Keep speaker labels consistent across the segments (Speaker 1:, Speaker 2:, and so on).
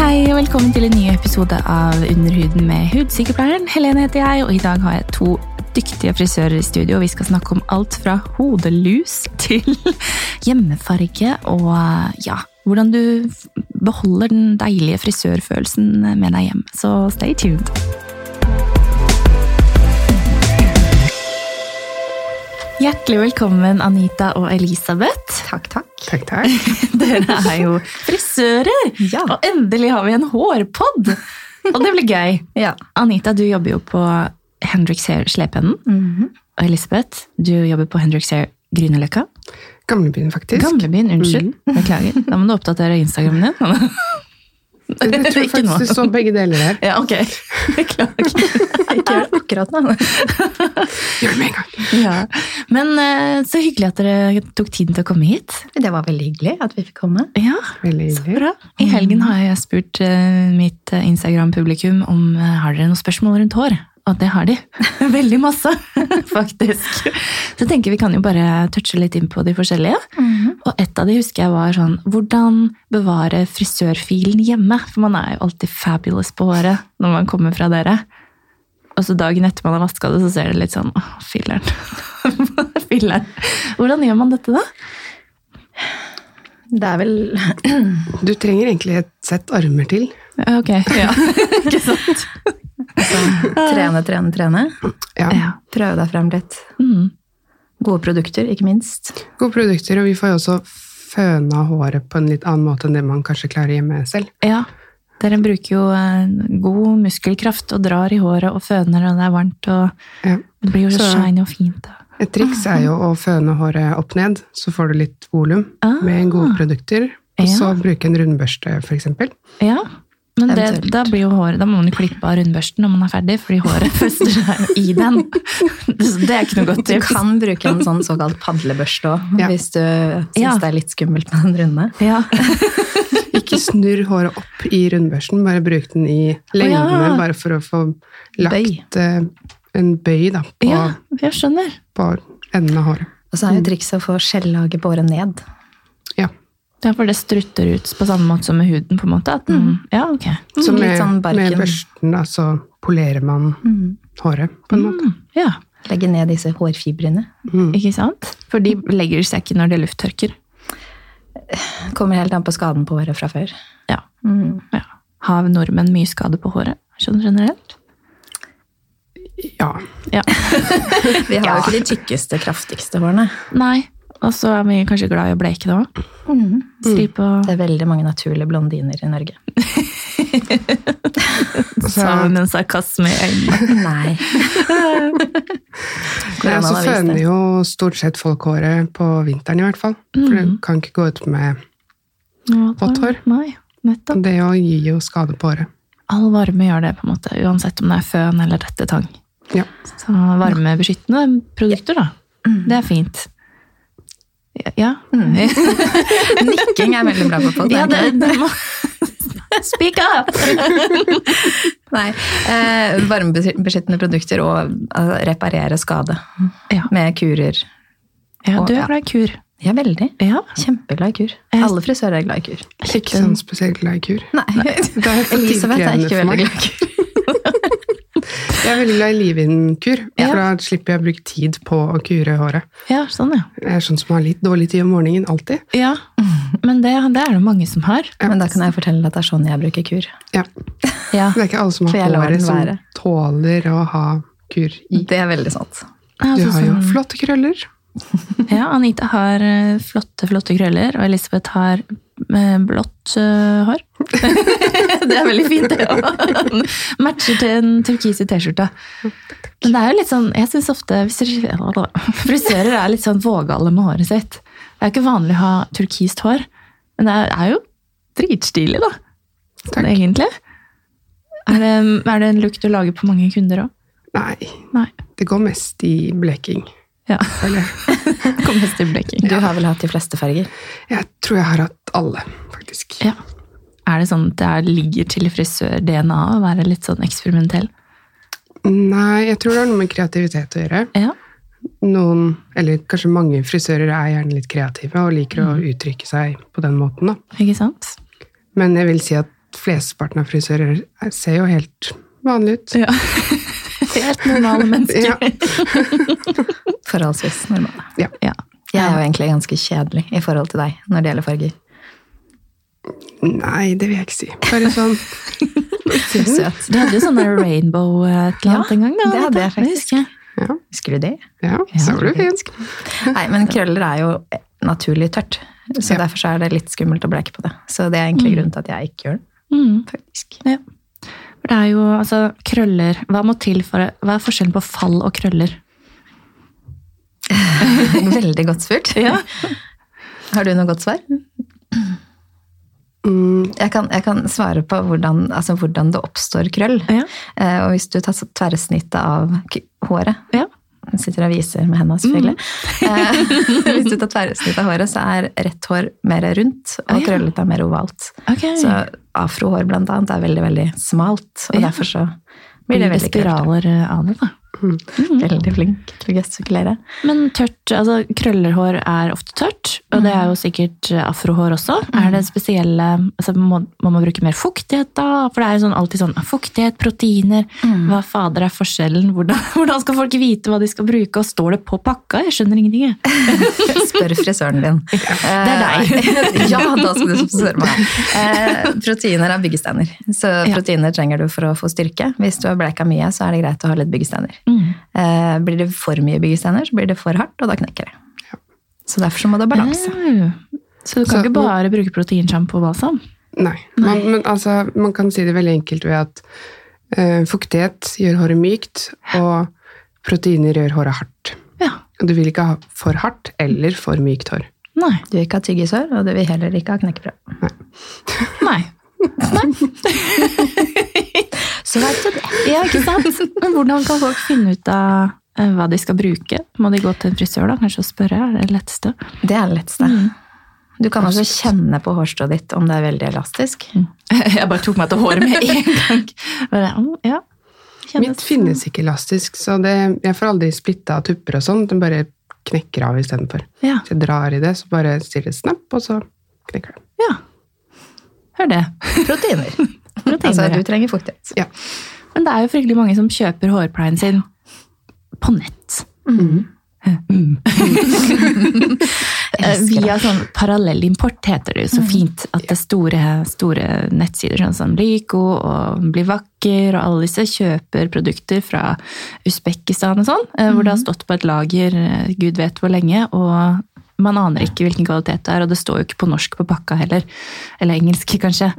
Speaker 1: Velkommen til en ny episode av Underhuden med hudsykepleieren. Helene heter jeg, og i dag har jeg to dyktige frisører i studio. Vi skal snakke om alt fra hodelus til hjemmefarge og eh, ja, hvordan du f- beholder den deilige frisørfølelsen med deg hjem. Så stay tuned. Hjertelig velkommen, Anita og Elisabeth. Takk, takk.
Speaker 2: Takk, takk.
Speaker 1: Dere er jo frisører!
Speaker 2: Ja.
Speaker 1: Og endelig har vi en hårpodd! Og det blir gøy.
Speaker 2: Ja.
Speaker 1: Anita, du jobber jo på Hendrix Hair Slepeenden. Og Elisabeth, du jobber på Hendrix Hair Grünerløkka.
Speaker 2: Gamlebyen, faktisk.
Speaker 1: Gamlebyen, unnskyld. Beklager. Da må du oppdatere Instagramen din.
Speaker 2: Jeg
Speaker 1: Ikke
Speaker 2: tror
Speaker 1: nå.
Speaker 2: faktisk det står begge deler der.
Speaker 1: Ja, ok. Beklager. Ikke gjør det akkurat nå.
Speaker 2: Gjør det med en gang.
Speaker 1: Ja. Men eh, så hyggelig at dere tok tiden til å komme hit.
Speaker 3: Det var veldig hyggelig at vi fikk komme.
Speaker 1: Ja,
Speaker 2: Veldig hyggelig.
Speaker 1: Bra. I helgen har jeg spurt eh, mitt eh, Instagram-publikum om eh, har dere noen spørsmål rundt hår. Og det har de. Veldig masse, faktisk. Så jeg tenker vi kan jo bare touche litt inn på de forskjellige. Og et av de husker jeg var sånn Hvordan bevare frisørfilen hjemme? For man er jo alltid fabulous på håret når man kommer fra dere. Og så dagen etter man har vaska det, så ser det litt sånn Åh, filleren. filleren. Hvordan gjør man dette, da?
Speaker 3: Det er vel
Speaker 2: Du trenger egentlig et sett armer til.
Speaker 1: Ja, Ok. Ja. Ikke sant?
Speaker 3: trene, trene, trene.
Speaker 2: Ja.
Speaker 1: Ja.
Speaker 3: Prøve deg frem litt.
Speaker 1: Mm.
Speaker 3: Gode produkter, ikke minst.
Speaker 2: Gode produkter, og vi får jo også føna håret på en litt annen måte enn det man kanskje klarer hjemme selv.
Speaker 1: Ja, dere bruker jo eh, god muskelkraft og drar i håret og føner, og det er varmt, og
Speaker 2: Ja.
Speaker 1: det blir jo så
Speaker 2: Så-
Speaker 1: shiny og fint. Da.
Speaker 2: Et triks er jo å føne håret opp ned, så får du litt volum
Speaker 1: Ah.
Speaker 2: med gode produkter. Og så bruke en rundbørste, for eksempel.
Speaker 1: Ja, men det,
Speaker 3: Eventuelt.
Speaker 1: da blir jo håret, da må man jo klippe av rundbørsten når man er ferdig, fordi håret fester seg jo i den. Så det er ikke noe godt
Speaker 3: Du
Speaker 1: tips.
Speaker 3: kan bruke en sånn såkalt padlebørste òg,
Speaker 2: Ja.
Speaker 3: hvis du syns
Speaker 1: Ja.
Speaker 3: det er litt skummelt med den runde.
Speaker 1: Ja.
Speaker 2: Ikke snurr håret opp i rundbørsten, bare bruk den i lengdene,
Speaker 1: ja.
Speaker 2: bare for å få lagt
Speaker 3: Bøy.
Speaker 2: eh, en bøy da, på,
Speaker 1: ja, jeg skjønner.
Speaker 2: på enden av håret.
Speaker 3: Og så er jo trikset å få skjellaget båret ned.
Speaker 2: Ja.
Speaker 3: Mm,
Speaker 1: Ja, for det strutter ut på samme måte som med huden, på en måte. At den, ja, ok.
Speaker 2: Så
Speaker 3: Litt
Speaker 2: med,
Speaker 3: sånn barken.
Speaker 2: med børsten da, så polerer man
Speaker 1: Mhm.
Speaker 2: håret, på en
Speaker 3: Mm.
Speaker 2: måte. Mm.
Speaker 1: Ja,
Speaker 3: Legge ned disse hårfibrene.
Speaker 1: ikke sant? For de legger seg ikke når det lufttørker.
Speaker 3: Kommer helt an på skaden på håret fra før.
Speaker 1: Ja. ja. Har nordmenn mye skade på håret, sånn generelt?
Speaker 2: Ja.
Speaker 1: Ja.
Speaker 3: Vi har jo ikke de tykkeste, kraftigste hårene.
Speaker 1: Nei. Og så er vi kanskje glad i å bleke det òg. Mhm. Stripe og
Speaker 3: Det er veldig mange naturlige blondiner i Norge.
Speaker 1: Sa hun med en sarkasme i øynene.
Speaker 3: Nei.
Speaker 2: Nei,
Speaker 3: Hvordan
Speaker 2: så
Speaker 3: har vist
Speaker 2: føner
Speaker 3: det?
Speaker 2: jo stort sett folk håret på vinteren i hvert fall. For
Speaker 3: Mm.
Speaker 2: det kan ikke gå ut med Vått hår?
Speaker 1: Nei, nettopp.
Speaker 2: Det å gi jo skade på håret.
Speaker 1: All varme gjør det, på en måte, uansett om det er føn eller rettetang.
Speaker 2: Ja.
Speaker 1: Så varmebeskyttende produkter, da. Det er fint. Ja.
Speaker 3: Nikking er veldig bra på podd.
Speaker 1: ja det,
Speaker 3: egentlig.
Speaker 1: det må... Speak up!
Speaker 3: Nei, eh, varmebeskyttende produkter og altså, reparere skade
Speaker 1: Ja.
Speaker 3: med kurer.
Speaker 1: Ja,
Speaker 3: Og-
Speaker 1: du er
Speaker 3: ja.
Speaker 1: glad i kur.
Speaker 3: Ja, veldig.
Speaker 1: Ja.
Speaker 3: Kjempeglad i kur.
Speaker 1: Jeg-
Speaker 3: Alle frisører er glad i kur.
Speaker 2: Ikke sånn spesielt glad i kur.
Speaker 3: Nei,
Speaker 2: Det er for
Speaker 3: Elisabeth er
Speaker 2: tidkrevende
Speaker 3: ikke
Speaker 2: for
Speaker 3: veldig
Speaker 2: meg.
Speaker 3: glad i kur.
Speaker 2: Jeg er veldig glad i livin-kur,
Speaker 1: Ja.
Speaker 2: for da slipper jeg å bruke tid på å kure håret.
Speaker 1: ja, sånn, ja.
Speaker 2: Jeg er sånn som har litt dårlig tid om morgenen, alltid.
Speaker 1: ja. Men det, det er det mange som har.
Speaker 3: Men da kan jeg fortelle deg at det er sånn jeg bruker kur.
Speaker 2: Ja.
Speaker 1: Ja.
Speaker 2: Det er ikke alle som
Speaker 3: For
Speaker 2: har
Speaker 3: jeg lar den
Speaker 2: håret som
Speaker 3: være.
Speaker 2: tåler å ha kur i.
Speaker 3: Det er veldig sant.
Speaker 2: Du
Speaker 1: Altså,
Speaker 2: har jo
Speaker 1: sånn-
Speaker 2: flotte krøller.
Speaker 1: Ja, Anita har eh, flotte, flotte krøller, og Elisabeth har eh, blått eh, hår. det er veldig fint, det òg. Matcher til en turkise T-skjorte. Men det er jo litt sånn, jeg syns ofte frisører frisører er litt sånn vågale med håret sitt. Det er ikke vanlig å ha turkist hår, men det er jo dritstilig, da.
Speaker 2: Takk.
Speaker 1: Egentlig. Er det, er det en look du lager på mange kunder òg?
Speaker 2: Nei,
Speaker 1: Nei.
Speaker 2: det går mest i bleking.
Speaker 1: Ja.
Speaker 2: føler jeg.
Speaker 1: Kom mest i blekking.
Speaker 3: Du har vel hatt de fleste farger?
Speaker 2: Jeg tror jeg har hatt alle, faktisk.
Speaker 1: Ja. Er det sånn at det er- ligger til frisør-DNA å være litt sånn eksperimentell?
Speaker 2: Nei, jeg tror det har noe med kreativitet å gjøre.
Speaker 1: Ja.
Speaker 2: Noen, eller kanskje mange frisører er gjerne Mm. litt kreative og liker å uttrykke seg på den måten, da.
Speaker 1: Ikke sant?
Speaker 2: Men jeg vil si at flesteparten av frisører ser jo helt vanlig ut.
Speaker 1: Ja. Helt normale mennesker.
Speaker 3: Forholdsvis normale.
Speaker 2: Ja.
Speaker 1: Ja.
Speaker 3: Jeg er jo egentlig ganske kjedelig i forhold til deg når det gjelder farger.
Speaker 2: Nei, det vil jeg ikke si. Bare sånn
Speaker 3: Søt.
Speaker 1: Du hadde jo sånn der rainbow eh, et eller annet
Speaker 3: Ja,
Speaker 1: en gang. Da,
Speaker 3: det hadde jeg faktisk.
Speaker 1: husker jeg.
Speaker 2: Ja,
Speaker 3: Husker du det?
Speaker 2: ja så var du fin.
Speaker 3: Nei, men krøller er jo naturlig tørt. Så
Speaker 2: Ja.
Speaker 3: derfor så er det litt skummelt å bleke på det. Så det er egentlig grunnen til at jeg ikke gjør det,
Speaker 1: Mm.
Speaker 3: faktisk.
Speaker 1: Ja. For det er jo altså, krøller Hva må til for Hva er forskjellen på fall og krøller?
Speaker 3: Veldig godt spurt. Har du noe godt svar?
Speaker 2: Mm,
Speaker 3: Jeg kan, jeg kan svare på hvordan, altså hvordan det oppstår krøll.
Speaker 1: Ja.
Speaker 3: Eh, og hvis du tar så- tverrsnittet av k- håret
Speaker 1: Ja.
Speaker 3: Hun sitter og viser med hendene, selvfølgelig.
Speaker 1: Mm.
Speaker 3: Eh, hvis du tar tverrsnitt av håret, så er rett hår mer rundt, og
Speaker 1: Å, ja.
Speaker 3: krøllet er mer ovalt.
Speaker 1: Ok.
Speaker 3: Så afrohår blant annet er veldig, veldig smalt, og
Speaker 1: Ja.
Speaker 3: derfor så blir
Speaker 1: blir
Speaker 3: det
Speaker 1: det
Speaker 3: veldig krøll.
Speaker 1: spiraler eh, av det, da.
Speaker 3: Veldig flink til å gestikulere.
Speaker 1: Men tørt, altså krøllerhår er ofte tørt, og det er jo sikkert eh, afrohår også. Er det spesielle altså må, må man bruke mer fuktighet da? For det er jo sånn, alltid sånn fuktighet, proteiner
Speaker 3: Mm.
Speaker 1: Hva fader er forskjellen? Hvordan, hvordan skal folk vite hva de skal bruke? Og står det på pakka? Jeg skjønner ingenting, jeg.
Speaker 3: Spør frisøren din.
Speaker 1: det
Speaker 3: er deg. ja, da skal du spørre meg. Eh, proteiner er byggesteiner, så
Speaker 1: Ja.
Speaker 3: proteiner trenger du for å få styrke. Hvis du har bleka mye, så er det greit å ha litt byggesteiner. Eh, blir det for mye byggesteiner, så blir det for hardt, og da knekker det. Så derfor så må det ha balanse.
Speaker 1: Mm. Så du kan
Speaker 2: Så-
Speaker 1: ikke bare bruke proteinsjampo og balsam?
Speaker 2: nei. Man, men altså, man kan si det veldig enkelt ved at eh, fuktighet gjør håret mykt, og proteiner gjør håret hardt.
Speaker 1: Ja.
Speaker 2: Og du vil ikke ha for hardt eller for mykt hår.
Speaker 1: Nei.
Speaker 3: Du vil ikke ha tyggisår, og du vil heller ikke ha knekkebrød.
Speaker 1: Nei.
Speaker 3: Så vet du det.
Speaker 1: Ja, ikke sant? Men hvordan kan folk finne ut av eh, hva de skal bruke? Må de gå til en frisør da, kanskje og spørre? Er det det letteste?
Speaker 3: Det er det letteste. Du kan også kjenne på hårstrået ditt om det er veldig elastisk.
Speaker 1: Jeg bare tok meg til håret med en gang. Bare, mm, ja. Kjennes-
Speaker 2: Mitt finnes ikke elastisk, så det, jeg får aldri splitta av tupper og sånn. Den bare knekker av istedenfor.
Speaker 1: Ja,
Speaker 2: Hvis jeg drar i det, så bare sier det snapp, og så knekker det.
Speaker 1: ja. Hør det.
Speaker 3: Proteiner.
Speaker 1: Proteiner,
Speaker 3: altså,
Speaker 1: ja.
Speaker 3: du trenger fuktighet.
Speaker 2: Ja.
Speaker 1: Men det er jo fryktelig mange som kjøper hårpleien sin på nett. Mm. Eh,
Speaker 3: elsker
Speaker 1: Via sånn parallellimport, heter det jo så fint. At det er store, store nettsider sånn som Lyko og Bli vakker og alle disse kjøper produkter fra Usbekistan og sånn, eh, hvor det har stått på et lager eh, gud vet hvor lenge, og man aner ikke hvilken kvalitet det er, og det står jo ikke på norsk på pakka heller. Eller engelsk, kanskje.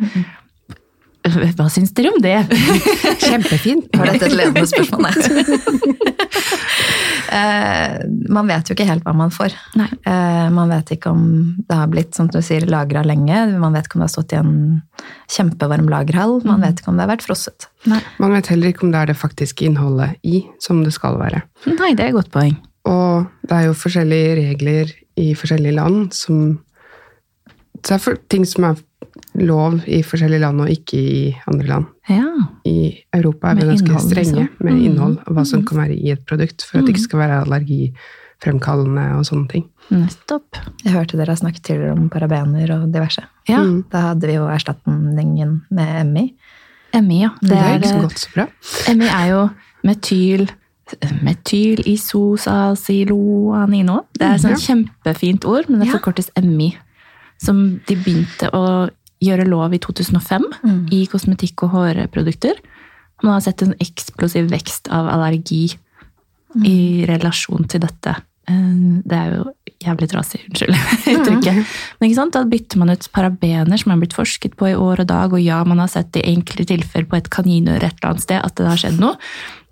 Speaker 1: Hva syns dere om det?
Speaker 2: Kjempefint.
Speaker 3: Var dette et ledende spørsmål? Nei. Eh, man vet jo ikke helt hva man får.
Speaker 1: Nei.
Speaker 3: Eh, man vet ikke om det har blitt som du sier, lagra lenge. Man vet ikke om det har stått i en kjempevarm lagerhall. Man vet ikke om det har vært frosset.
Speaker 1: Nei.
Speaker 2: Man vet heller ikke om det er det faktiske innholdet i som det skal være.
Speaker 1: Hm, Nei, det er et godt poeng.
Speaker 2: Og det er jo forskjellige regler i forskjellige land som Så det er for, ting som er lov i forskjellige land og ikke i andre land.
Speaker 1: Ja.
Speaker 2: I Europa er vi
Speaker 1: Med
Speaker 2: ganske
Speaker 1: innhold,
Speaker 2: strenge
Speaker 1: liksom.
Speaker 2: med
Speaker 1: Mm.
Speaker 2: innhold og hva som kan være i et produkt, for at det ikke skal være allergifremkallende og sånne ting.
Speaker 1: Nettopp.
Speaker 3: Jeg hørte dere har snakket tidligere om parabener og diverse.
Speaker 1: Ja,
Speaker 2: Mm.
Speaker 3: Da hadde vi jo erstatningen med MI.
Speaker 1: MI, ja.
Speaker 2: Det,
Speaker 1: Det
Speaker 2: har
Speaker 1: er,
Speaker 2: ikke så gått så bra.
Speaker 1: MI er jo metyl Metyl, isosasiloanino. Det er et sånt kjempefint ord, men det
Speaker 3: Ja.
Speaker 1: forkortes MI. Som de begynte å gjøre lov i 2005
Speaker 3: Mm.
Speaker 1: i kosmetikk og hårprodukter. Man har sett en eksplosiv vekst av allergi i
Speaker 3: Mm.
Speaker 1: relasjon til dette. Eh, Det er jo jævlig trasig, unnskyld uttrykket.
Speaker 3: Mm.
Speaker 1: Men ikke sant? Da bytter man ut parabener som er blitt forsket på i år og dag, og ja, man har sett i enkelte tilfeller på et kaninøre et eller annet sted at det har skjedd noe.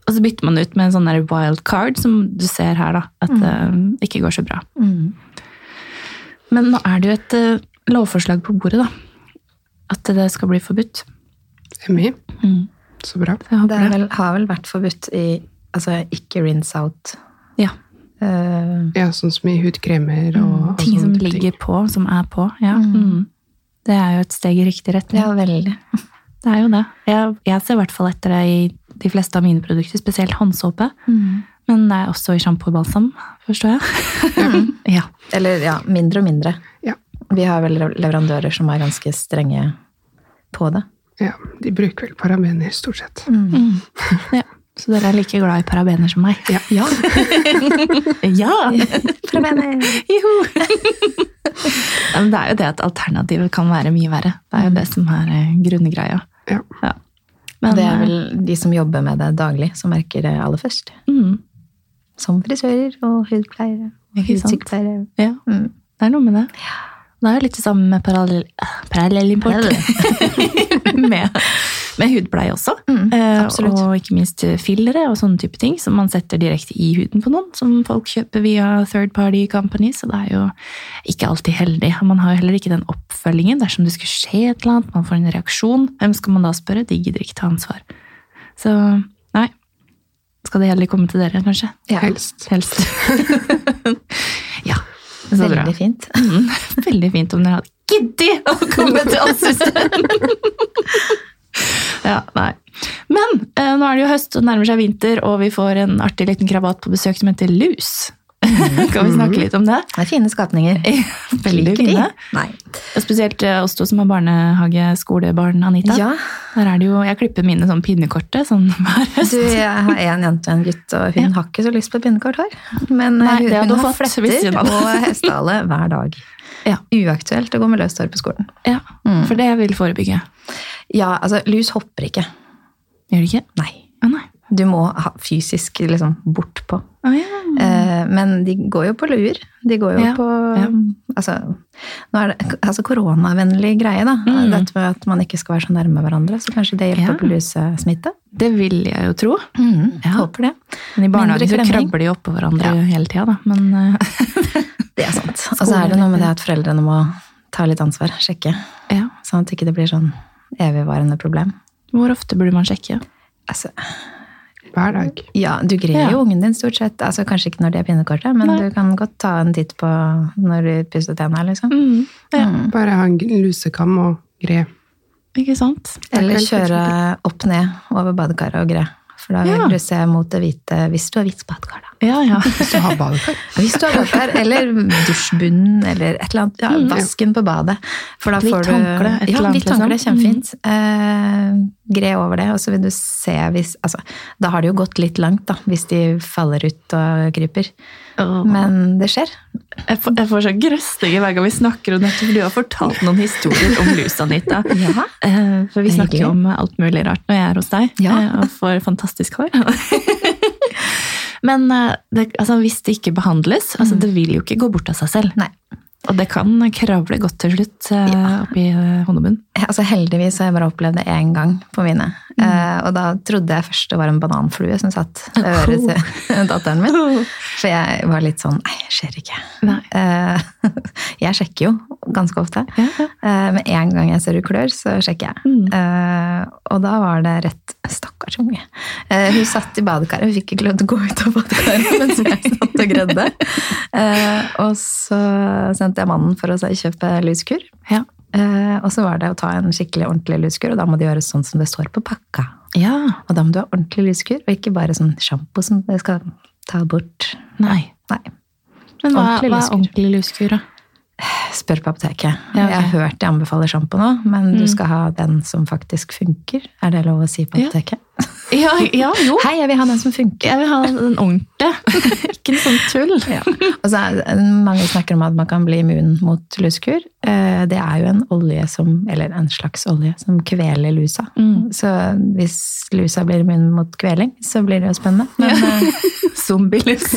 Speaker 1: Og så bytter man ut med en sånn der wild card, som du ser her, da, at det
Speaker 3: Mm.
Speaker 1: ikke går så bra. Men nå er det jo et eh, lovforslag på bordet, da. At det skal bli forbudt.
Speaker 2: MI.
Speaker 1: Mm.
Speaker 2: Så bra.
Speaker 1: Så jeg
Speaker 3: Det
Speaker 1: håper
Speaker 3: er
Speaker 1: det.
Speaker 3: vel, har vel vært forbudt i altså ikke rinse out.
Speaker 1: Ja.
Speaker 3: Eh,
Speaker 2: Ja, sånn som i hudkremer og,
Speaker 1: Mm.
Speaker 2: og
Speaker 1: Ting som
Speaker 2: sånne
Speaker 1: ligger på, som er på. Ja. altså Mm. Det er jo et steg i riktig retning.
Speaker 3: ja, veldig.
Speaker 1: Det er jo det. Jeg, jeg ser i hvert fall etter det i de fleste av mine produkter, spesielt håndsåpe. Men det er også i sjampo og balsam, forstår jeg. ja.
Speaker 3: Eller ja, mindre og mindre.
Speaker 2: Ja.
Speaker 3: Vi har vel leverandører som er ganske strenge på det.
Speaker 2: Ja, de bruker vel parabener, stort sett.
Speaker 1: Mm. Ja. Så dere er like glad i parabener som meg?
Speaker 2: Ja.
Speaker 3: Ja,
Speaker 1: Ja!
Speaker 3: parabener!
Speaker 1: Juhu! ja, men det er jo det at alternativet kan være mye verre. Det er jo det som er eh, grunngreia.
Speaker 2: Ja.
Speaker 1: Ja.
Speaker 3: det er vel de som jobber med det daglig, som merker det aller først.
Speaker 1: eh, mm,
Speaker 3: Som frisører og hudpleiere og
Speaker 1: Ikke sant?
Speaker 3: hudsykepleiere.
Speaker 1: Ja,
Speaker 3: Mm.
Speaker 1: det er noe med det. Det er jo litt det samme med parallell- eh, parallellimport. med, med hudpleie også.
Speaker 3: Mm,
Speaker 1: Eh,
Speaker 3: absolutt.
Speaker 1: og ikke minst fillere og sånne type ting som man setter direkte i huden på noen, som folk kjøper via third party companies, så det er jo ikke alltid heldig. Og Man har jo heller ikke den oppfølgingen dersom det skulle skje et eller annet, man får en reaksjon, hvem skal man da spørre? De gidder ikke ta ansvar. Så nei, skal det heller komme til dere, kanskje?
Speaker 3: Ja,
Speaker 2: Helst.
Speaker 1: Helst. ja, så bra.
Speaker 3: veldig fint.
Speaker 1: Mm, Veldig fint om dere hadde giddet å komme til oss isteden. ja, nei. Men eh, nå er det jo høst og nærmer seg vinter, og vi får en artig liten krabat på besøk som heter Lus. kan vi snakke litt om det?
Speaker 3: Det er fine skapninger.
Speaker 1: Veldig
Speaker 3: Liker de?
Speaker 1: fine.
Speaker 3: Nei.
Speaker 1: Og spesielt eh, oss to som har barnehage-skolebarn, Anita.
Speaker 3: Ja,
Speaker 1: Her er det jo, jeg klipper mine sånn pinnekortet sånn hver høst.
Speaker 3: du, jeg har en jente og en gutt, og hun har ikke så lyst på pinnekort hår. Men eh,
Speaker 1: Nei,
Speaker 3: hun,
Speaker 1: det hadde
Speaker 3: hun
Speaker 1: hun
Speaker 3: har
Speaker 1: fått hvis hun
Speaker 3: fletter
Speaker 1: hadde.
Speaker 3: og hestehale hver dag.
Speaker 1: Ja.
Speaker 3: Uaktuelt å gå med løst hår på skolen.
Speaker 1: Ja,
Speaker 3: Mm.
Speaker 1: For det vil forebygge.
Speaker 3: Ja, altså, lus hopper ikke.
Speaker 1: Gjør det ikke?
Speaker 3: Nei.
Speaker 1: Å nei.
Speaker 3: Du må ha fysisk liksom bort på.
Speaker 1: Å, ja.
Speaker 3: Eh, men de går jo på luer. De går jo
Speaker 1: Ja,
Speaker 3: på
Speaker 1: ja.
Speaker 3: Altså, nå er det altså koronavennlig greie, da.
Speaker 1: Mm.
Speaker 3: Dette med at man ikke skal være så nærme hverandre. Så kanskje det hjelper
Speaker 1: Ja.
Speaker 3: på lusesmitte.
Speaker 1: Det vil jeg jo tro.
Speaker 3: Mm.
Speaker 1: Ja.
Speaker 3: Håper det.
Speaker 1: Men i barnehagen
Speaker 3: Mindre
Speaker 1: så
Speaker 3: klemming.
Speaker 1: krabber de oppå hverandre
Speaker 3: Ja.
Speaker 1: hele tida, da. Men eh,
Speaker 3: Det er sant. Og så er det noe med det at foreldrene må ta litt ansvar, sjekke.
Speaker 1: ja.
Speaker 3: Sånn at ikke det blir sånn evigvarende problem.
Speaker 1: Hvor ofte burde man sjekke?
Speaker 3: Altså,
Speaker 2: Hver dag.
Speaker 3: ja, du
Speaker 1: Ja.
Speaker 3: greier jo ungen din stort sett. Altså, kanskje ikke når de har pinnekortet, men
Speaker 1: Nei.
Speaker 3: du kan godt ta en titt på når du pusser tenna, liksom.
Speaker 1: Ja,
Speaker 3: Mm.
Speaker 2: Bare ha en lusekam og gre.
Speaker 1: ikke sant?
Speaker 2: Det
Speaker 3: Eller
Speaker 2: er veldig
Speaker 3: kjøre opp ned over badekaret og gre. For da vil
Speaker 1: Ja.
Speaker 3: du se mot det hvite hvis du har hvitt badekar, da.
Speaker 1: Ja, ja.
Speaker 2: Så ha badekar.
Speaker 3: Hvis du har badekar, eller dusjbunnen, eller et eller annet. Ja,
Speaker 1: Mm.
Speaker 3: vasken på badet. For da
Speaker 1: Hvitt
Speaker 3: får du
Speaker 1: håndkle, et
Speaker 3: Ja,
Speaker 1: eller annet,
Speaker 3: hvitt håndkle.
Speaker 1: liksom.
Speaker 3: Kjempefint. Eh, gre over det, og så vil du se hvis Altså, da har det jo gått litt langt, da, hvis de faller ut og kryper. Men det skjer.
Speaker 1: jeg, får, jeg får så grøsninger hver gang vi snakker om dette, for du har fortalt noen historier om lus, Anita.
Speaker 3: Ja.
Speaker 1: Eh, For vi
Speaker 3: Det er
Speaker 1: snakker jo
Speaker 3: hyggelig.
Speaker 1: om alt mulig rart når jeg er hos deg,
Speaker 3: Ja.
Speaker 1: eh, og får fantastisk hår. Men eh, det, altså, hvis det ikke behandles, altså, det vil jo ikke gå bort av seg selv.
Speaker 3: Nei.
Speaker 1: Og det kan kravle godt til slutt eh, oppi eh, hodebunnen.
Speaker 3: Altså Heldigvis har jeg bare opplevd det én gang på mine.
Speaker 1: Mm.
Speaker 3: Eh, og da trodde jeg først det var en bananflue som satt ved øret til datteren min. For jeg var litt sånn Nei, skjer ikke.
Speaker 1: Nei.
Speaker 3: Eh, jeg sjekker jo ganske ofte.
Speaker 1: Ja, ja.
Speaker 3: Eh, med en gang jeg ser hun klør, så sjekker jeg.
Speaker 1: Mm.
Speaker 3: Eh, og da var det rett Stakkars unge. Eh, hun satt i badekaret, hun fikk ikke lov til å gå ut av badekaret mens jeg satt og gredde. Eh, og så sendte jeg mannen for å si- kjøpe luskur.
Speaker 1: Ja.
Speaker 3: Eh, og så var det å ta en skikkelig ordentlig luskur, og da må det gjøres sånn som det står på pakka.
Speaker 1: ja.
Speaker 3: Og da må du ha ordentlig luskur, og ikke bare sånn sjampo som du skal ta bort.
Speaker 1: Nei.
Speaker 3: Nei.
Speaker 1: Men hva,
Speaker 3: Ordentlig
Speaker 1: hva
Speaker 3: luskur.
Speaker 1: er ordentlig luskur, da?
Speaker 3: Spør på apoteket.
Speaker 1: Ja, ok. Mm.
Speaker 3: Jeg har hørt de anbefaler sjampo nå, men du skal ha den som faktisk funker. Er det lov å si på
Speaker 1: Ja. Oh.
Speaker 3: apoteket?
Speaker 1: Ja, ja, jo.
Speaker 3: Hei, jeg vil ha den som funker!
Speaker 1: Jeg vil ha den ordentlige. Ikke noe sånn tull.
Speaker 3: Ja. Og så er, mange snakker om at man kan bli immun mot luskur. Eh, Det er jo en olje som, eller en slags olje, som kveler lusa.
Speaker 1: Mm.
Speaker 3: Så hvis lusa blir immun mot kveling, så blir det jo spennende. Men eh,
Speaker 1: Zombielus.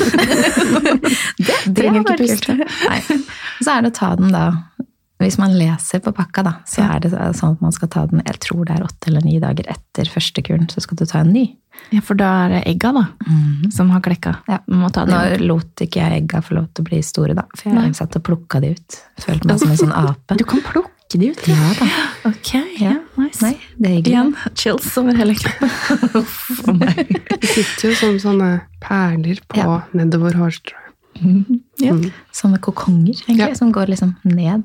Speaker 3: det,
Speaker 1: Trenger ikke
Speaker 3: var kult.
Speaker 1: puste.
Speaker 3: Nei. Så er det å ta den da Hvis man leser på pakka, da, så
Speaker 1: Ja.
Speaker 3: er det sånn at man skal ta den jeg tror det er åtte eller ni dager etter første kuren. Så skal du ta en ny.
Speaker 1: Ja, for da er det egga, da, som har klekka.
Speaker 3: Ja.
Speaker 1: Man Må ta
Speaker 3: Nå
Speaker 1: det.
Speaker 3: lot ikke jeg egga få lov til å bli store, da. For jeg
Speaker 1: Nei.
Speaker 3: satt og plukka de ut. Følte meg som en sånn ape.
Speaker 1: Du kan plukke de ut. Ja.
Speaker 3: Ja da.
Speaker 1: Ok, ja, nice.
Speaker 3: Nei, det er hyggelig.
Speaker 1: Igjen chills over hele kroppen. Uff, å nei.
Speaker 2: Det sitter jo som sånne perler på
Speaker 3: Ja.
Speaker 2: nedover hårstrået.
Speaker 1: Ja.
Speaker 3: Sånne kokonger, egentlig,
Speaker 2: Ja.
Speaker 3: som går liksom ned.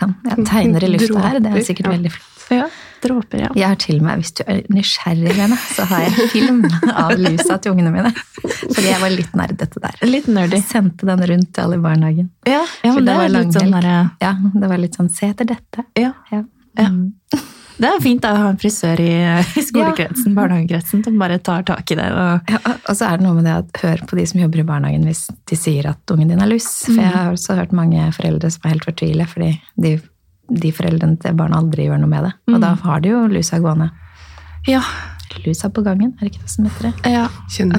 Speaker 3: Jeg kan jeg tegner i lufta her, det er sikkert
Speaker 2: Dråper, ja.
Speaker 3: veldig flott.
Speaker 1: Ja, dråper, ja.
Speaker 3: Jeg har til og med, hvis du er nysgjerrig, Lene, så har jeg film av lusa til ungene mine. Fordi jeg var litt nerdete der.
Speaker 1: Litt nerdy.
Speaker 3: Jeg sendte den rundt til alle i barnehagen.
Speaker 1: Ja, ja
Speaker 3: For
Speaker 1: men
Speaker 3: det
Speaker 1: det
Speaker 3: var
Speaker 1: er litt sånn
Speaker 3: langhelg.
Speaker 1: derre
Speaker 3: Ja, det var litt sånn, se etter dette.
Speaker 1: ja.
Speaker 3: Ja.
Speaker 1: Ja. Det er fint da, å ha en frisør i, i skolekretsen, barnehagekretsen, som bare tar tak i det. Og,
Speaker 3: Ja, og så er det noe med det at hør på de som jobber i barnehagen hvis de sier at ungen din er luss. For jeg har også hørt mange foreldre som er helt fortvile fordi de, de foreldrene til barna aldri gjør noe med det. Og da har de jo lusa gående.
Speaker 1: ja,
Speaker 3: Lusa på gangen, er det ikke det som heter det?
Speaker 1: ja.
Speaker 2: Kjenner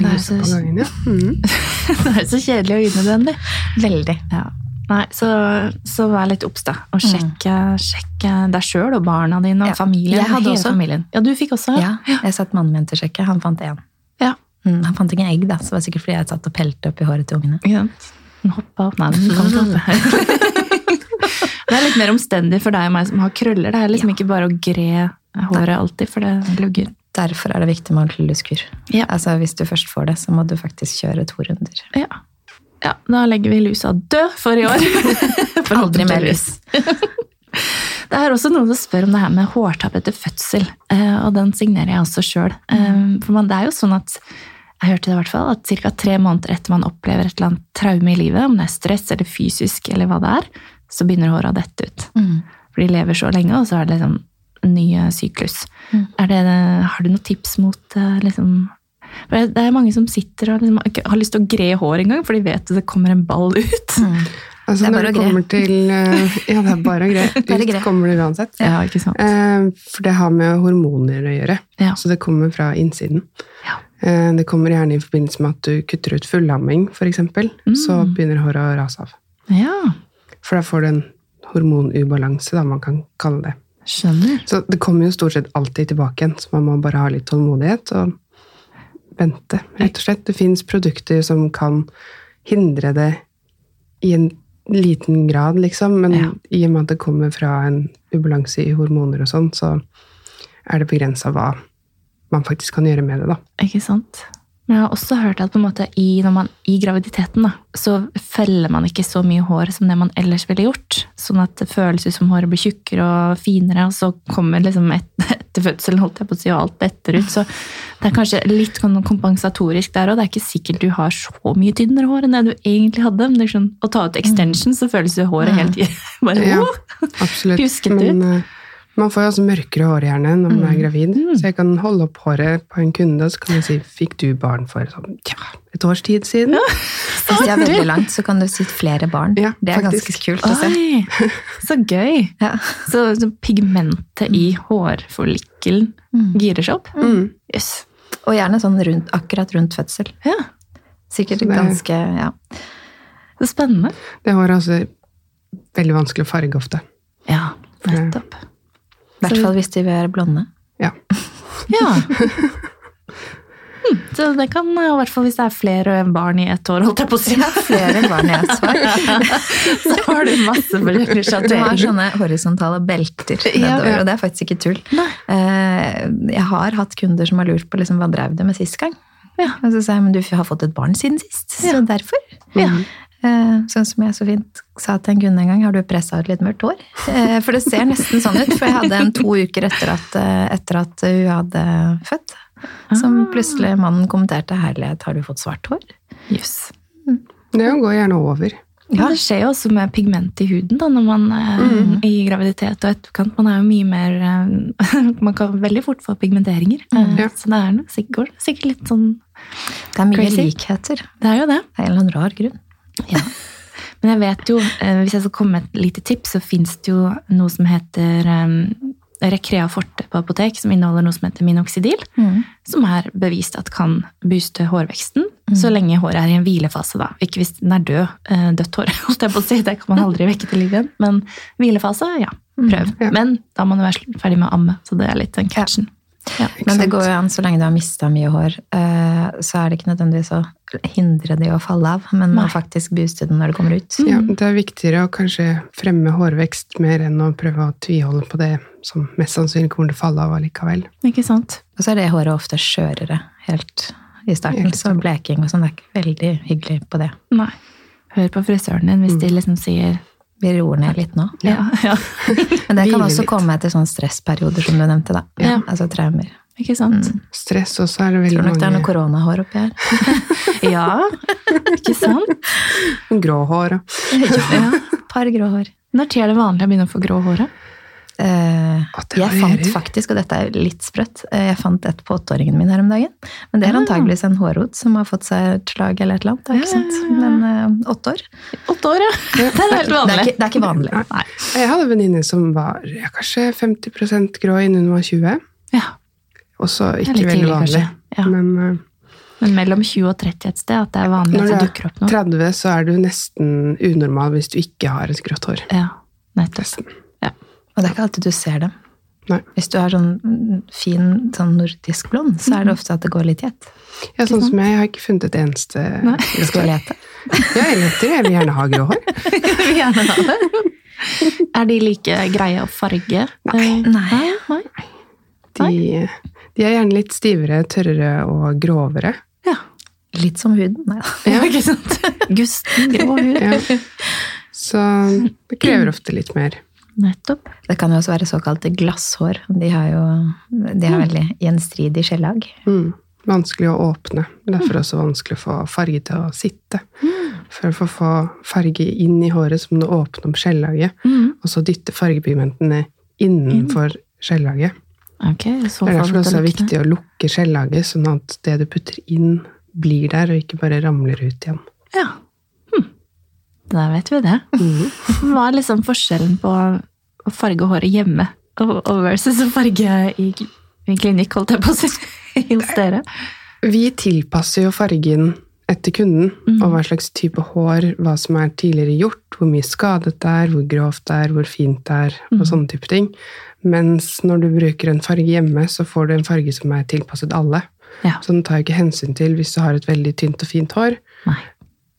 Speaker 1: det, er
Speaker 2: du
Speaker 1: så,
Speaker 2: så på gangen, ja? Mm.
Speaker 1: det er så kjedelig og unødvendig.
Speaker 3: Veldig.
Speaker 1: Ja. Nei, så, så vær litt obs, da. Og sjekk, sjekk deg sjøl og barna dine og
Speaker 3: Ja.
Speaker 1: familien.
Speaker 3: Jeg hadde
Speaker 1: hele
Speaker 3: også.
Speaker 1: familien. Ja, du fikk også?
Speaker 3: Ja, jeg satt mannen min til å sjekke. Han fant én.
Speaker 1: Ja.
Speaker 3: Mm, han fant ikke en egg, da, så det var sikkert fordi jeg satt og pelte opp i håret til ungene.
Speaker 1: Ikke sant? Den hoppa opp. Nei, den kom til å hoppe. det er litt mer omstendig for deg og meg som har krøller. Det er liksom ikke bare å gre håret alltid, for det lugger.
Speaker 3: Derfor er det viktig med ordentlig luskur.
Speaker 1: Ja.
Speaker 3: Altså, hvis du først får det, så må du faktisk kjøre to runder.
Speaker 1: Ja. ja, da legger vi lusa død for i år.
Speaker 3: Aldri mer lus.
Speaker 1: Det er også noen som spør om det her med hårtapp etter fødsel, eh, og den signerer jeg også sjøl. For man, det er jo sånn at jeg hørte det i hvert fall, at ca. tre måneder etter man opplever et eller annet traume i livet, om det er stress eller fysisk eller hva det er, så begynner håra å dette ut.
Speaker 3: Mm.
Speaker 1: For de lever så lenge, og så er det liksom en ny eh, syklus.
Speaker 3: Mm.
Speaker 1: Er det, har du noen tips mot eh, liksom for det det er mange som sitter og liksom ikke har lyst til å gre hår engang, for de vet at det kommer en ball ut.
Speaker 3: Mm.
Speaker 2: Altså,
Speaker 3: Det er
Speaker 2: når
Speaker 3: bare
Speaker 2: det
Speaker 3: å gre.
Speaker 2: kommer til eh, Ja, det er bare å gre.
Speaker 3: Bare
Speaker 2: Ut
Speaker 3: gre.
Speaker 2: kommer det uansett.
Speaker 1: Ja, ikke sant?
Speaker 2: Eh, For det har med hormoner å gjøre.
Speaker 1: Ja.
Speaker 2: Så det kommer fra innsiden.
Speaker 1: Ja.
Speaker 2: Eh, Det kommer gjerne i forbindelse med at du kutter ut fullamming, f.eks. Så
Speaker 1: Mm.
Speaker 2: begynner håret å rase av.
Speaker 1: Ja,
Speaker 2: For da får du en hormonubalanse, da man kan kalle det.
Speaker 1: skjønner.
Speaker 2: Så det kommer jo stort sett alltid tilbake igjen, så man må bare ha litt tålmodighet og vente, rett og slett. Det fins produkter som kan hindre det i en liten grad, liksom, men
Speaker 1: Ja.
Speaker 2: i og med at det kommer fra en ubalanse i hormoner og sånn, så er det begrensa hva man faktisk kan gjøre med det, da.
Speaker 1: Ikke sant? Men jeg har også hørt at på en måte i, når man, i graviditeten da, så feller man ikke så mye hår som det man ellers ville gjort. Sånn at det føles ut som håret blir tjukkere og finere, og så kommer liksom et, etter fødselen holdt jeg på å si, og alt detter ut. Så det er kanskje litt kon- kompensatorisk der òg. Det er ikke sikkert du har så mye tynnere hår enn det du egentlig hadde. Men det er sånn, å ta ut extension, så føles jo håret helt bare,
Speaker 2: Ja.
Speaker 1: «Åh!»
Speaker 2: Absolutt.
Speaker 1: Pjusket
Speaker 2: Men eh, man får jo også mørkere hår gjerne når man er gravid. Så jeg kan holde opp håret på en kunde, og så kan jeg si 'Fikk du barn for sånn, tja, et års tid siden?'
Speaker 3: Hvis de er veldig langt, så kan du si flere barn.
Speaker 2: Ja,
Speaker 3: det er
Speaker 2: faktisk.
Speaker 3: ganske kult å se.
Speaker 1: Oi, så gøy!
Speaker 3: Ja.
Speaker 1: Så, så pigmentet i hårfollikelen girer seg opp?
Speaker 2: Mm.
Speaker 1: Jøss.
Speaker 3: Og gjerne sånn rundt, akkurat rundt fødsel.
Speaker 1: Ja,
Speaker 3: Sikkert
Speaker 2: Så det er-
Speaker 3: ganske ja.
Speaker 1: så spennende.
Speaker 2: Det håret er altså veldig vanskelig å farge ofte.
Speaker 1: Ja, nettopp.
Speaker 3: I hvert
Speaker 1: Så-
Speaker 3: fall hvis de vil være blonde.
Speaker 2: Ja.
Speaker 1: Ja. Hm, Så det kan, i hvert fall hvis det er flere barn i ett år, holdt jeg på å si,
Speaker 3: Flere barn jeg så.
Speaker 1: så har du masse
Speaker 3: Du har
Speaker 1: sjatteringer.
Speaker 3: sånne horisontale belter
Speaker 1: Ja.
Speaker 3: nedover, og det er faktisk ikke tull.
Speaker 1: Nei.
Speaker 3: Eh, Jeg har hatt kunder som har lurt på liksom, hva drev det med sist gang.
Speaker 1: Ja.
Speaker 3: Og så sa jeg men du har fått et barn siden sist, så derfor.
Speaker 1: Ja.
Speaker 2: Mm.
Speaker 3: Eh, Sånn som jeg så fint sa til en kunde en gang, har du pressa ut litt mørkt hår? Eh, For det ser nesten sånn ut, for jeg hadde en to uker etter at, eh, etter at hun hadde født. Som
Speaker 2: Ah.
Speaker 3: plutselig mannen kommenterte 'herlighet, har du fått svart hår'?
Speaker 1: Jøss.
Speaker 2: Det går gjerne over.
Speaker 1: Ja. Det skjer jo også med pigment i huden da, når man eh, i graviditet og etterkant. Man er jo mye mer eh, Man kan veldig fort få pigmenteringer. Eh,
Speaker 2: Ja.
Speaker 1: Så det er noe, sikkert, sikkert litt sånn
Speaker 3: Det er mye
Speaker 1: Crazy.
Speaker 3: likheter. Det
Speaker 1: Det er jo det.
Speaker 3: er en eller annen rar grunn.
Speaker 1: Men jeg vet jo, eh, hvis jeg skal komme med et lite tips, så fins det jo noe som heter eh, Recrea Forte på apotek, som inneholder noe som heter minoxidil,
Speaker 2: Mm.
Speaker 1: som er bevist at kan booste hårveksten så lenge håret er i en hvilefase, da. Ikke hvis den er død. eh, Dødt hår, holdt jeg på å si. Det kan man aldri vekke til liv igjen. Men hvilefase, Mm, ja. Prøv.
Speaker 2: Ja.
Speaker 1: Men da må du være sl- ferdig med å amme, så det er litt den catchen. Ja.
Speaker 2: Ikke
Speaker 3: Men det
Speaker 2: sant?
Speaker 3: går jo an så lenge du har mista mye hår, eh, så er det ikke nødvendigvis å hindre det i å falle av, men
Speaker 1: Nei.
Speaker 3: å faktisk booste det når det kommer ut.
Speaker 2: Ja,
Speaker 1: Mm.
Speaker 2: det er viktigere å kanskje fremme hårvekst mer enn å prøve å tviholde på det som mest sannsynlig kommer til å falle av allikevel.
Speaker 1: Ikke sant?
Speaker 3: Og så er det håret ofte skjørere helt i starten,
Speaker 2: Helt
Speaker 3: så bleking og sånn det er ikke veldig hyggelig på det.
Speaker 1: Nei. Hør på frisøren din hvis de liksom sier
Speaker 3: Vi roer ned litt nå.
Speaker 1: ja, ja.
Speaker 3: Men det kan
Speaker 2: Hvile
Speaker 3: også
Speaker 2: litt.
Speaker 3: komme etter sånne stressperioder, som du nevnte, da.
Speaker 1: Ja.
Speaker 3: Altså traumer.
Speaker 1: Ikke sant?
Speaker 2: Stress også er det veldig
Speaker 3: Tror nok det er noe
Speaker 2: mange
Speaker 3: koronahår oppi her.
Speaker 1: Ja, ikke sant?
Speaker 2: grå hår og
Speaker 3: Ja, Par grå hår.
Speaker 1: Når er det vanlig å begynne å få grå hår? da?
Speaker 3: Eh,
Speaker 2: Å, det
Speaker 3: jeg fant
Speaker 2: varierer.
Speaker 3: faktisk, og dette er litt sprøtt, eh, jeg fant et på åtteåringen min her om dagen. Men det er
Speaker 1: Ah.
Speaker 3: antageligvis en hårrot som har fått seg et slag eller et eller annet. Det er ikke
Speaker 1: Ja, ja,
Speaker 3: sant?
Speaker 1: ja.
Speaker 3: Men eh, åtte år.
Speaker 1: Åtte år, ja. Det er helt
Speaker 3: Det er
Speaker 1: vanlig.
Speaker 3: ikke, det er ikke vanlig.
Speaker 2: Nei.
Speaker 3: Nei.
Speaker 2: Jeg hadde en venninne som var ja, kanskje 50 grå innen hun var 20.
Speaker 1: Ja,
Speaker 2: Også
Speaker 1: det er
Speaker 2: ikke
Speaker 1: litt
Speaker 2: veldig
Speaker 1: tidlig,
Speaker 2: vanlig.
Speaker 1: kanskje. Ja.
Speaker 2: Men eh,
Speaker 1: Men mellom 20 og 30 et sted, at det er vanlig
Speaker 2: Når
Speaker 1: at
Speaker 2: du
Speaker 1: det
Speaker 2: er
Speaker 1: dukker opp noe.
Speaker 2: 30 så er du nesten unormal hvis du ikke har et grått hår.
Speaker 1: Ja, nettopp.
Speaker 2: Nesten.
Speaker 3: Og det er ikke alltid du ser dem.
Speaker 2: Nei.
Speaker 3: Hvis du er sånn mm, fin sånn nordisk blond, så
Speaker 1: Mm.
Speaker 3: er det ofte at det går litt i ett.
Speaker 2: Ja, sånn
Speaker 1: sant?
Speaker 2: som jeg, jeg har ikke funnet et eneste
Speaker 1: Nei.
Speaker 2: grått
Speaker 3: Skal
Speaker 2: hår.
Speaker 3: jeg lete?
Speaker 2: Ja, jeg leter, jeg vil gjerne ha grå hår.
Speaker 1: Jeg vil gjerne ha det. Er de like greie og farge?
Speaker 2: Nei.
Speaker 1: Eh, Nei, nei.
Speaker 2: De, de er gjerne litt stivere, tørrere og grovere.
Speaker 1: Ja.
Speaker 3: Litt som huden. Nei da.
Speaker 1: ja, ikke sant? Gusten grå hud.
Speaker 2: Ja. Så det krever ofte litt mer.
Speaker 1: Nettopp.
Speaker 3: Det kan jo også være såkalte glasshår. De har jo de har veldig gjenstridig skjellag.
Speaker 2: Mm. Vanskelig å åpne.
Speaker 1: Mm.
Speaker 2: Derfor også vanskelig å få farge til å sitte. For å få farge inn i håret, så må du åpne opp skjellaget,
Speaker 1: Mm.
Speaker 2: og så dytte fargepigmentene innenfor skjellaget.
Speaker 1: Ok, i så
Speaker 2: Det
Speaker 1: fall
Speaker 2: er derfor det også er
Speaker 1: dette lukter.
Speaker 2: viktig å lukke skjellaget, sånn at det du putter inn, blir der, og ikke bare ramler ut igjen.
Speaker 1: Ja. Hm. Da vet vi det. Hva er liksom forskjellen på å farge håret hjemme og- og versus å farge i, i klinikk, holdt jeg på å si, hos dere?
Speaker 2: Vi tilpasser jo fargen etter kunden,
Speaker 1: Mhm.
Speaker 3: Mm.
Speaker 2: og hva slags type hår, hva som er tidligere gjort, hvor mye skadet det er, hvor grovt det er, hvor fint det er,
Speaker 3: Mm.
Speaker 2: og sånne type ting. Mens når du bruker en farge hjemme, så får du en farge som er tilpasset alle.
Speaker 1: Ja.
Speaker 2: Så den tar jo ikke hensyn til hvis du har et veldig tynt og fint hår,
Speaker 1: Nei.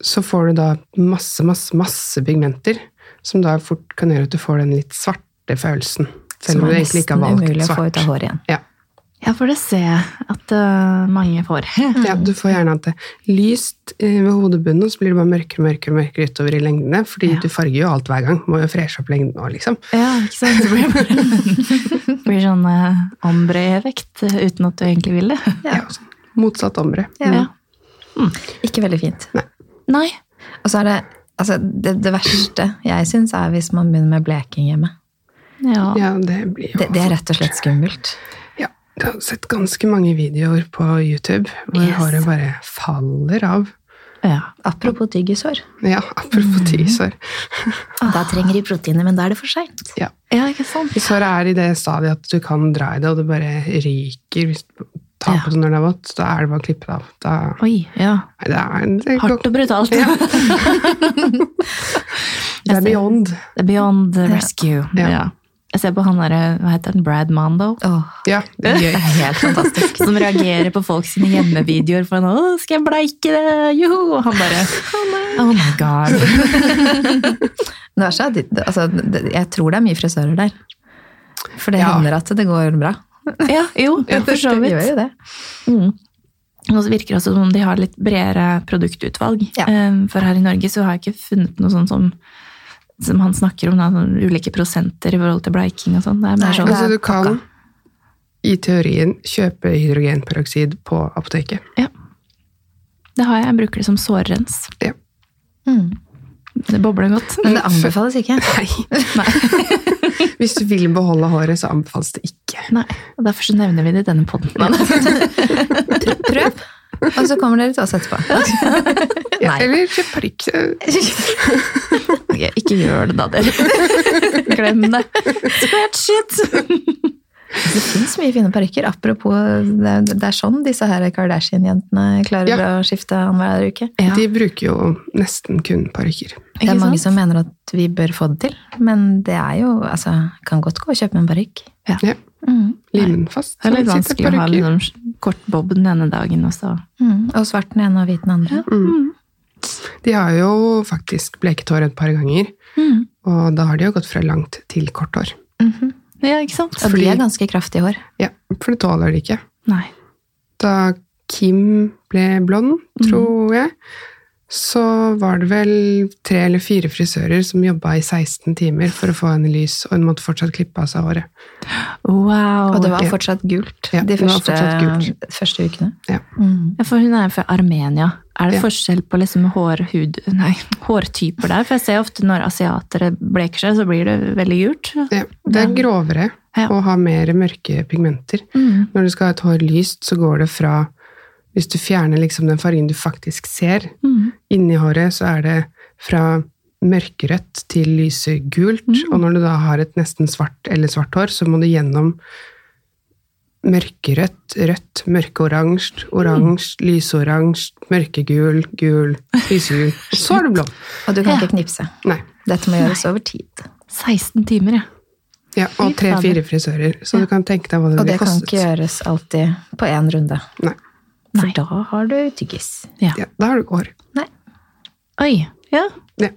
Speaker 2: så får du da masse, masse, masse pigmenter, som da fort kan gjøre at du får den litt svarte følelsen. Selv
Speaker 3: som
Speaker 2: om du
Speaker 3: er
Speaker 2: egentlig ikke har
Speaker 3: nesten
Speaker 2: valgt
Speaker 3: umulig å få ut
Speaker 2: svart.
Speaker 3: av håret igjen.
Speaker 2: Ja.
Speaker 1: Ja, for det ser jeg at øh, mange får.
Speaker 2: ja,
Speaker 3: Mm.
Speaker 2: du får gjerne at det er lyst eh, ved hodebunnen, og så blir det bare mørkere og mørkere, og mørkere utover i lengdene, fordi
Speaker 1: Ja.
Speaker 2: du farger jo alt hver gang, må jo freshe opp lengden nå, liksom.
Speaker 1: Ja, ikke sant? Det blir, bare- blir sånn eh, ombre-vekt eh, uten at du egentlig vil det.
Speaker 3: Ja.
Speaker 2: Ja, så motsatt ombre.
Speaker 3: Ja. Ikke veldig fint.
Speaker 1: Nei.
Speaker 3: Og så er det altså, det, det verste jeg syns, er hvis man begynner med bleking hjemme.
Speaker 1: Ja.
Speaker 2: Ja, det blir jo
Speaker 3: Det, det er rett og slett skummelt.
Speaker 2: Ja, jeg har sett ganske mange videoer på YouTube hvor
Speaker 1: Yes.
Speaker 2: håret bare faller av.
Speaker 1: ja.
Speaker 3: Apropos tyggishår.
Speaker 2: Ja,
Speaker 3: Mm.
Speaker 2: apropos tysår.
Speaker 3: Da trenger de proteiner, men da er det for seint.
Speaker 2: Ja.
Speaker 1: Ja, ikke sant?
Speaker 2: Hvis håret er i det stadiet at du kan dra i det, og det bare ryker hvis du tar på det når det er vått, da er det bare å klippe det av. Da,
Speaker 1: Oi, ja.
Speaker 2: nei, det, er, det,
Speaker 1: Hardt
Speaker 2: går,
Speaker 1: og brutalt.
Speaker 2: Ja. det er beyond.
Speaker 1: The Beyond Rescue.
Speaker 2: Ja.
Speaker 1: Ja. Jeg ser på han derre, hva heter han, Brad Mondo?
Speaker 3: Åh,
Speaker 2: Ja, det er
Speaker 3: det
Speaker 2: gøy.
Speaker 3: er helt fantastisk.
Speaker 1: Som reagerer på folk sine hjemmevideoer for han, å, skal jeg bleike det? Joho! Og han bare, oh my god.
Speaker 3: Det er så, det- altså, det- jeg tror det er mye frisører der. For det
Speaker 2: Ja.
Speaker 3: hender at det går bra.
Speaker 1: Ja, jo, for så
Speaker 3: Det
Speaker 1: vidt.
Speaker 3: gjør jo det.
Speaker 1: Mm. Og så virker det også som om de har litt bredere produktutvalg.
Speaker 3: Ja.
Speaker 1: Eh, For her i Norge så har jeg ikke funnet noe sånn som, som han snakker om, da, sånn ulike prosenter i forhold til bleiking og sånn. Det er
Speaker 3: Nei,
Speaker 1: mer sånn,
Speaker 2: Altså, du
Speaker 3: pakka.
Speaker 2: kan i teorien kjøpe hydrogenperoksid på apoteket.
Speaker 1: det har jeg, jeg bruker det som sårrens.
Speaker 3: Mm.
Speaker 1: Det bobler godt.
Speaker 3: Men det anbefales ikke.
Speaker 2: Nei.
Speaker 1: Nei,
Speaker 2: Hvis du vil beholde håret, så anbefales det ikke.
Speaker 1: nei. Og derfor så nevner vi det i denne podden.
Speaker 3: Prøv, og så kommer dere til oss etterpå.
Speaker 2: Ja,
Speaker 3: Nei.
Speaker 2: eller kjøp parykk.
Speaker 1: Ok, ikke gjør det da, dere. Glem det. Scratch it!
Speaker 3: Det fins mye fine parykker. Apropos, det er, det er sånn disse her Kardashian-jentene klarer å skifte annenhver uke.
Speaker 1: Ja,
Speaker 2: De bruker jo nesten kun parykker.
Speaker 3: Det er
Speaker 1: ikke
Speaker 3: mange
Speaker 1: sant?
Speaker 3: som mener at vi bør få det til, men det er jo altså, Kan godt gå og kjøpe en parykk.
Speaker 2: Ja,
Speaker 3: Mm.
Speaker 2: Lim den fast.
Speaker 1: Det er litt
Speaker 2: så sitter
Speaker 1: vanskelig å ha
Speaker 2: parykker.
Speaker 1: liksom, kort bob den ene dagen, og så
Speaker 3: Mm. Og svart den ene og hvit den andre.
Speaker 2: Mm. De har jo faktisk bleket hår et par ganger,
Speaker 1: Mhm.
Speaker 2: og da har de jo gått fra langt til kort hår.
Speaker 3: Mhm.
Speaker 1: Ja, ikke sant?
Speaker 3: Og
Speaker 2: Fordi-
Speaker 3: de er ganske kraftige hår.
Speaker 2: Ja, for det tåler de ikke.
Speaker 1: Nei.
Speaker 2: Da Kim ble blond, tror jeg, så var det vel tre eller fire frisører som jobba i 16 timer for å få henne lys, og hun måtte fortsatt klippe av seg håret.
Speaker 1: Wow.
Speaker 3: Og det var
Speaker 2: ja.
Speaker 3: fortsatt gult
Speaker 2: Ja,
Speaker 3: de
Speaker 2: det var
Speaker 3: første,
Speaker 2: fortsatt gult.
Speaker 3: første ukene.
Speaker 2: Ja.
Speaker 3: Mm.
Speaker 1: Ja, for hun er fra Armenia. Er det
Speaker 2: Ja.
Speaker 1: forskjell på liksom hår, hud, nei, hårtyper der? For jeg ser ofte når asiatere bleker seg, så blir det veldig gult.
Speaker 2: Ja, det er grovere
Speaker 1: Ja.
Speaker 2: å ha mer mørke pigmenter. Når du skal ha et hår lyst, så går det fra Hvis du fjerner liksom den fargen du faktisk ser
Speaker 1: Mm.
Speaker 2: inni håret, så er det fra mørkerødt til lysegult.
Speaker 1: Mm.
Speaker 2: Og når du da har et nesten svart eller svart hår, så må du gjennom mørkerødt, rødt, mørkeoransje,
Speaker 1: Mm.
Speaker 2: oransje, lyseoransje, mørkegul, gul, lysegul. Og så er du blå.
Speaker 3: Og du kan
Speaker 1: Ja.
Speaker 3: ikke knipse.
Speaker 2: Nei.
Speaker 3: Dette må gjøres over tid.
Speaker 1: 16 timer, ja.
Speaker 2: Ja, og
Speaker 1: Fy fader.
Speaker 2: tre-fire frisører. Så
Speaker 1: Ja.
Speaker 2: du kan tenke deg hva det
Speaker 3: Og
Speaker 2: ville
Speaker 3: det kan
Speaker 2: kostet.
Speaker 3: ikke gjøres alltid på én runde.
Speaker 2: Nei.
Speaker 3: For
Speaker 1: Nei.
Speaker 3: da har du tyggis.
Speaker 2: Ja, da har du hår.
Speaker 3: Nei.
Speaker 1: Oi, ja.
Speaker 2: Ja.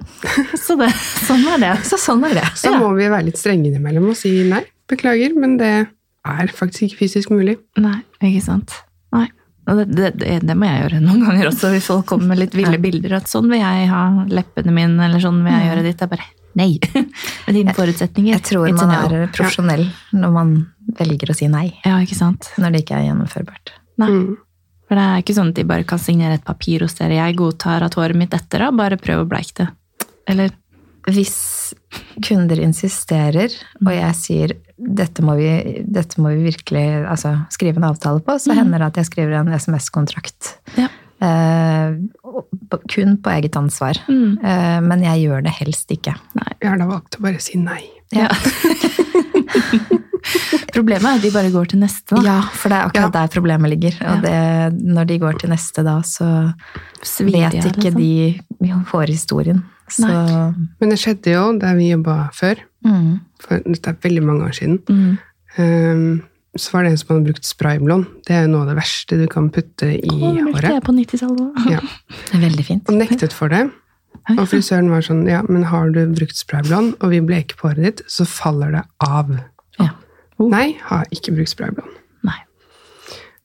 Speaker 1: Så det, sånn er det.
Speaker 3: Så sånn er det.
Speaker 2: Så
Speaker 1: Ja.
Speaker 2: må vi være litt strenge innimellom og si nei, beklager, men det er faktisk ikke fysisk mulig.
Speaker 1: Nei, ikke sant. Nei. Og det, det, det, det må jeg gjøre noen ganger også, hvis folk kommer med litt ville bilder. At sånn vil jeg ha leppene mine, eller sånn vil jeg gjøre ditt. Jeg bare nei. Med dine forutsetninger.
Speaker 3: Jeg tror
Speaker 1: It's a
Speaker 3: man
Speaker 1: no.
Speaker 3: er profesjonell når man velger å si nei.
Speaker 1: Ja, ikke sant.
Speaker 3: Når det ikke er gjennomførbart.
Speaker 1: Nei.
Speaker 2: Mm.
Speaker 1: For det er ikke sånn at de bare kan signere et papir hos dere. Jeg godtar at håret mitt detter av, bare prøv å bleike det. Eller
Speaker 3: Hvis kunder insisterer, og jeg sier dette må vi, dette må vi virkelig altså, skrive en avtale på, så hender det at jeg skriver en SMS-kontrakt.
Speaker 1: Ja.
Speaker 3: Eh, og- kun på eget ansvar.
Speaker 1: mm.
Speaker 3: Eh, men jeg gjør det helst ikke.
Speaker 2: Jeg har da valgt å bare si nei.
Speaker 1: Ja. Problemet er at de bare går til neste. Da.
Speaker 3: Ja, for det er akkurat der problemet ligger. Og det, når de går til neste da, så
Speaker 1: Svider
Speaker 3: vet
Speaker 1: jeg,
Speaker 3: ikke
Speaker 1: liksom.
Speaker 3: de forhistorien. Så
Speaker 2: Men det skjedde jo der vi jobba før,
Speaker 3: mm.
Speaker 2: for dette er veldig mange år siden.
Speaker 1: Mm.
Speaker 2: Ehm, så var det en som hadde brukt sprayblond. Det er jo noe av det verste du kan putte i
Speaker 1: Å, nå brukte
Speaker 2: håret.
Speaker 1: jeg på 90-tallet.
Speaker 2: Ja.
Speaker 3: Det er veldig fint.
Speaker 2: Og nektet for det.
Speaker 1: Oi.
Speaker 2: Og frisøren var sånn, ja, men har du brukt sprayblond, og vi bleker på håret ditt, så faller det av.
Speaker 1: Ja.
Speaker 3: Oh.
Speaker 2: Nei, har ikke brukt sprayblond.
Speaker 1: Nei.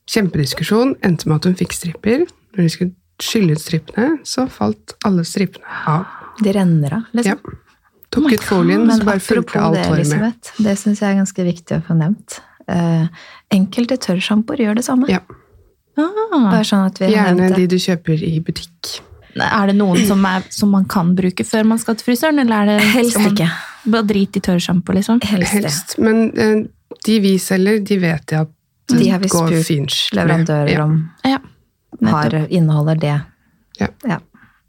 Speaker 2: Kjempediskusjon. Endte med at hun fikk stripper. Når de skulle skylle ut strippene, så falt alle strippene av.
Speaker 3: De renner av, liksom.
Speaker 2: Ja. Tok ut folien,
Speaker 3: Men
Speaker 2: så bare fulgte
Speaker 3: apropos
Speaker 2: alt
Speaker 3: det,
Speaker 2: håret med.
Speaker 3: Elisabeth, det syns jeg er ganske viktig å få nevnt. Eh, enkelte tørrsjampoer gjør det samme.
Speaker 2: Ja.
Speaker 1: Ah.
Speaker 3: Bare sånn at vi har
Speaker 2: Gjerne
Speaker 3: nevnt
Speaker 2: de
Speaker 3: det.
Speaker 2: du kjøper i butikk.
Speaker 1: Er det noen som, er, som man kan bruke før man skal til frisøren, eller er det
Speaker 3: Helst
Speaker 1: skal man
Speaker 3: ikke.
Speaker 1: Bare drit i tørrsjampo, liksom?
Speaker 3: Helst,
Speaker 2: Helst. Men eh, de vi selger, de vet jeg at
Speaker 3: det.
Speaker 2: det
Speaker 3: De har vi
Speaker 2: går
Speaker 3: spurt
Speaker 2: fint.
Speaker 3: leverandører
Speaker 2: Ja.
Speaker 3: om
Speaker 1: Ja.
Speaker 3: har, inneholder det.
Speaker 2: Ja.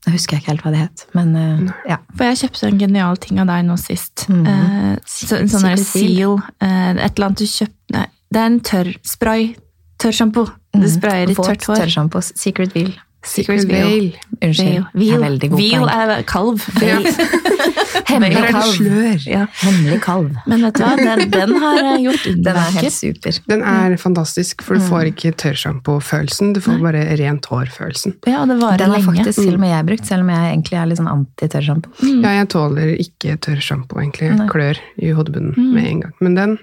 Speaker 3: Jeg husker ikke helt hva det het, men eh, ja.
Speaker 1: For jeg kjøpte en genial ting av deg nå sist.
Speaker 3: Mhm.
Speaker 1: Eh, så, en sånn der seal. eh, et eller annet du kjøpte Nei, det er en tørr spray. Tørrsjampo. Du sprayer i
Speaker 3: Mhm. Våt
Speaker 1: tørt hår.
Speaker 3: Mm. tørrsjampo. Secret Veal.
Speaker 2: Secret
Speaker 1: Veil.
Speaker 2: Veil.
Speaker 3: Unnskyld. Det er
Speaker 1: Veal.
Speaker 3: veldig god
Speaker 1: Veal
Speaker 3: poeng.
Speaker 1: er kalv.
Speaker 2: Ja.
Speaker 1: Veil.
Speaker 2: Der
Speaker 3: Hemmelig
Speaker 2: er det
Speaker 3: kalv.
Speaker 2: slør.
Speaker 1: Ja.
Speaker 3: Hemmelig kalv.
Speaker 1: Men vet du hva, den, den har eh, gjort
Speaker 3: Den er helt
Speaker 1: underverker.
Speaker 3: super.
Speaker 2: Den er fantastisk, for du får ikke tørrsjampo-følelsen, du får bare rent hår-følelsen.
Speaker 1: Ja, og det varer
Speaker 3: Den har
Speaker 1: lenge.
Speaker 3: faktisk til og med jeg brukt, selv om jeg egentlig er litt sånn anti-tørrsjampo.
Speaker 2: Ja, jeg tåler ikke tørrsjampo, egentlig. Jeg Klør i hodebunnen med en gang. Men den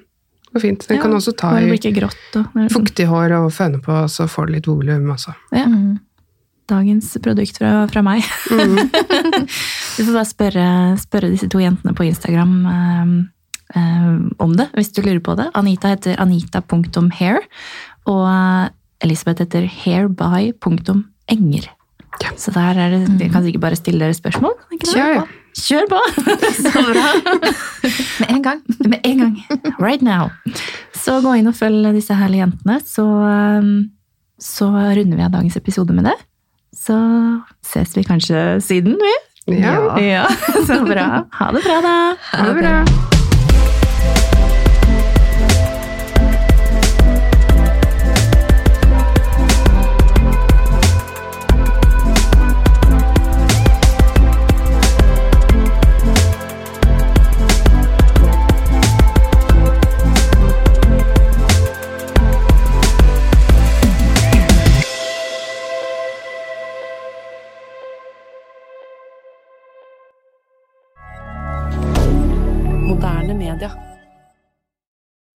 Speaker 2: går fint. Den
Speaker 1: Ja,
Speaker 2: kan også ta
Speaker 1: Bare det
Speaker 2: i
Speaker 1: blir ikke grått. Og,
Speaker 2: fuktig hår og føne på, så får du litt volum også.
Speaker 1: Ja. Dagens produkt fra, fra meg. du får bare spørre, spørre disse to jentene på Instagram eh, eh, om det, hvis du lurer på det. Anita heter anita.hair, og eh, Elisabeth heter hairby.enger.
Speaker 2: Ja.
Speaker 1: Så der er det, dere kan sikkert bare stille dere spørsmål. kan dere ikke det?
Speaker 2: Ja, ja.
Speaker 1: Kjør på! Så bra!
Speaker 3: Med en gang.
Speaker 1: Med en gang. Right now. Så gå inn og følg disse herlige jentene, så, um, så runder vi av dagens episode med det. Så ses vi kanskje siden, vi.
Speaker 2: Ja,
Speaker 3: Ja.
Speaker 1: Ja, så bra. Ha det bra, da.
Speaker 2: ha det bra.
Speaker 4: Moderne media.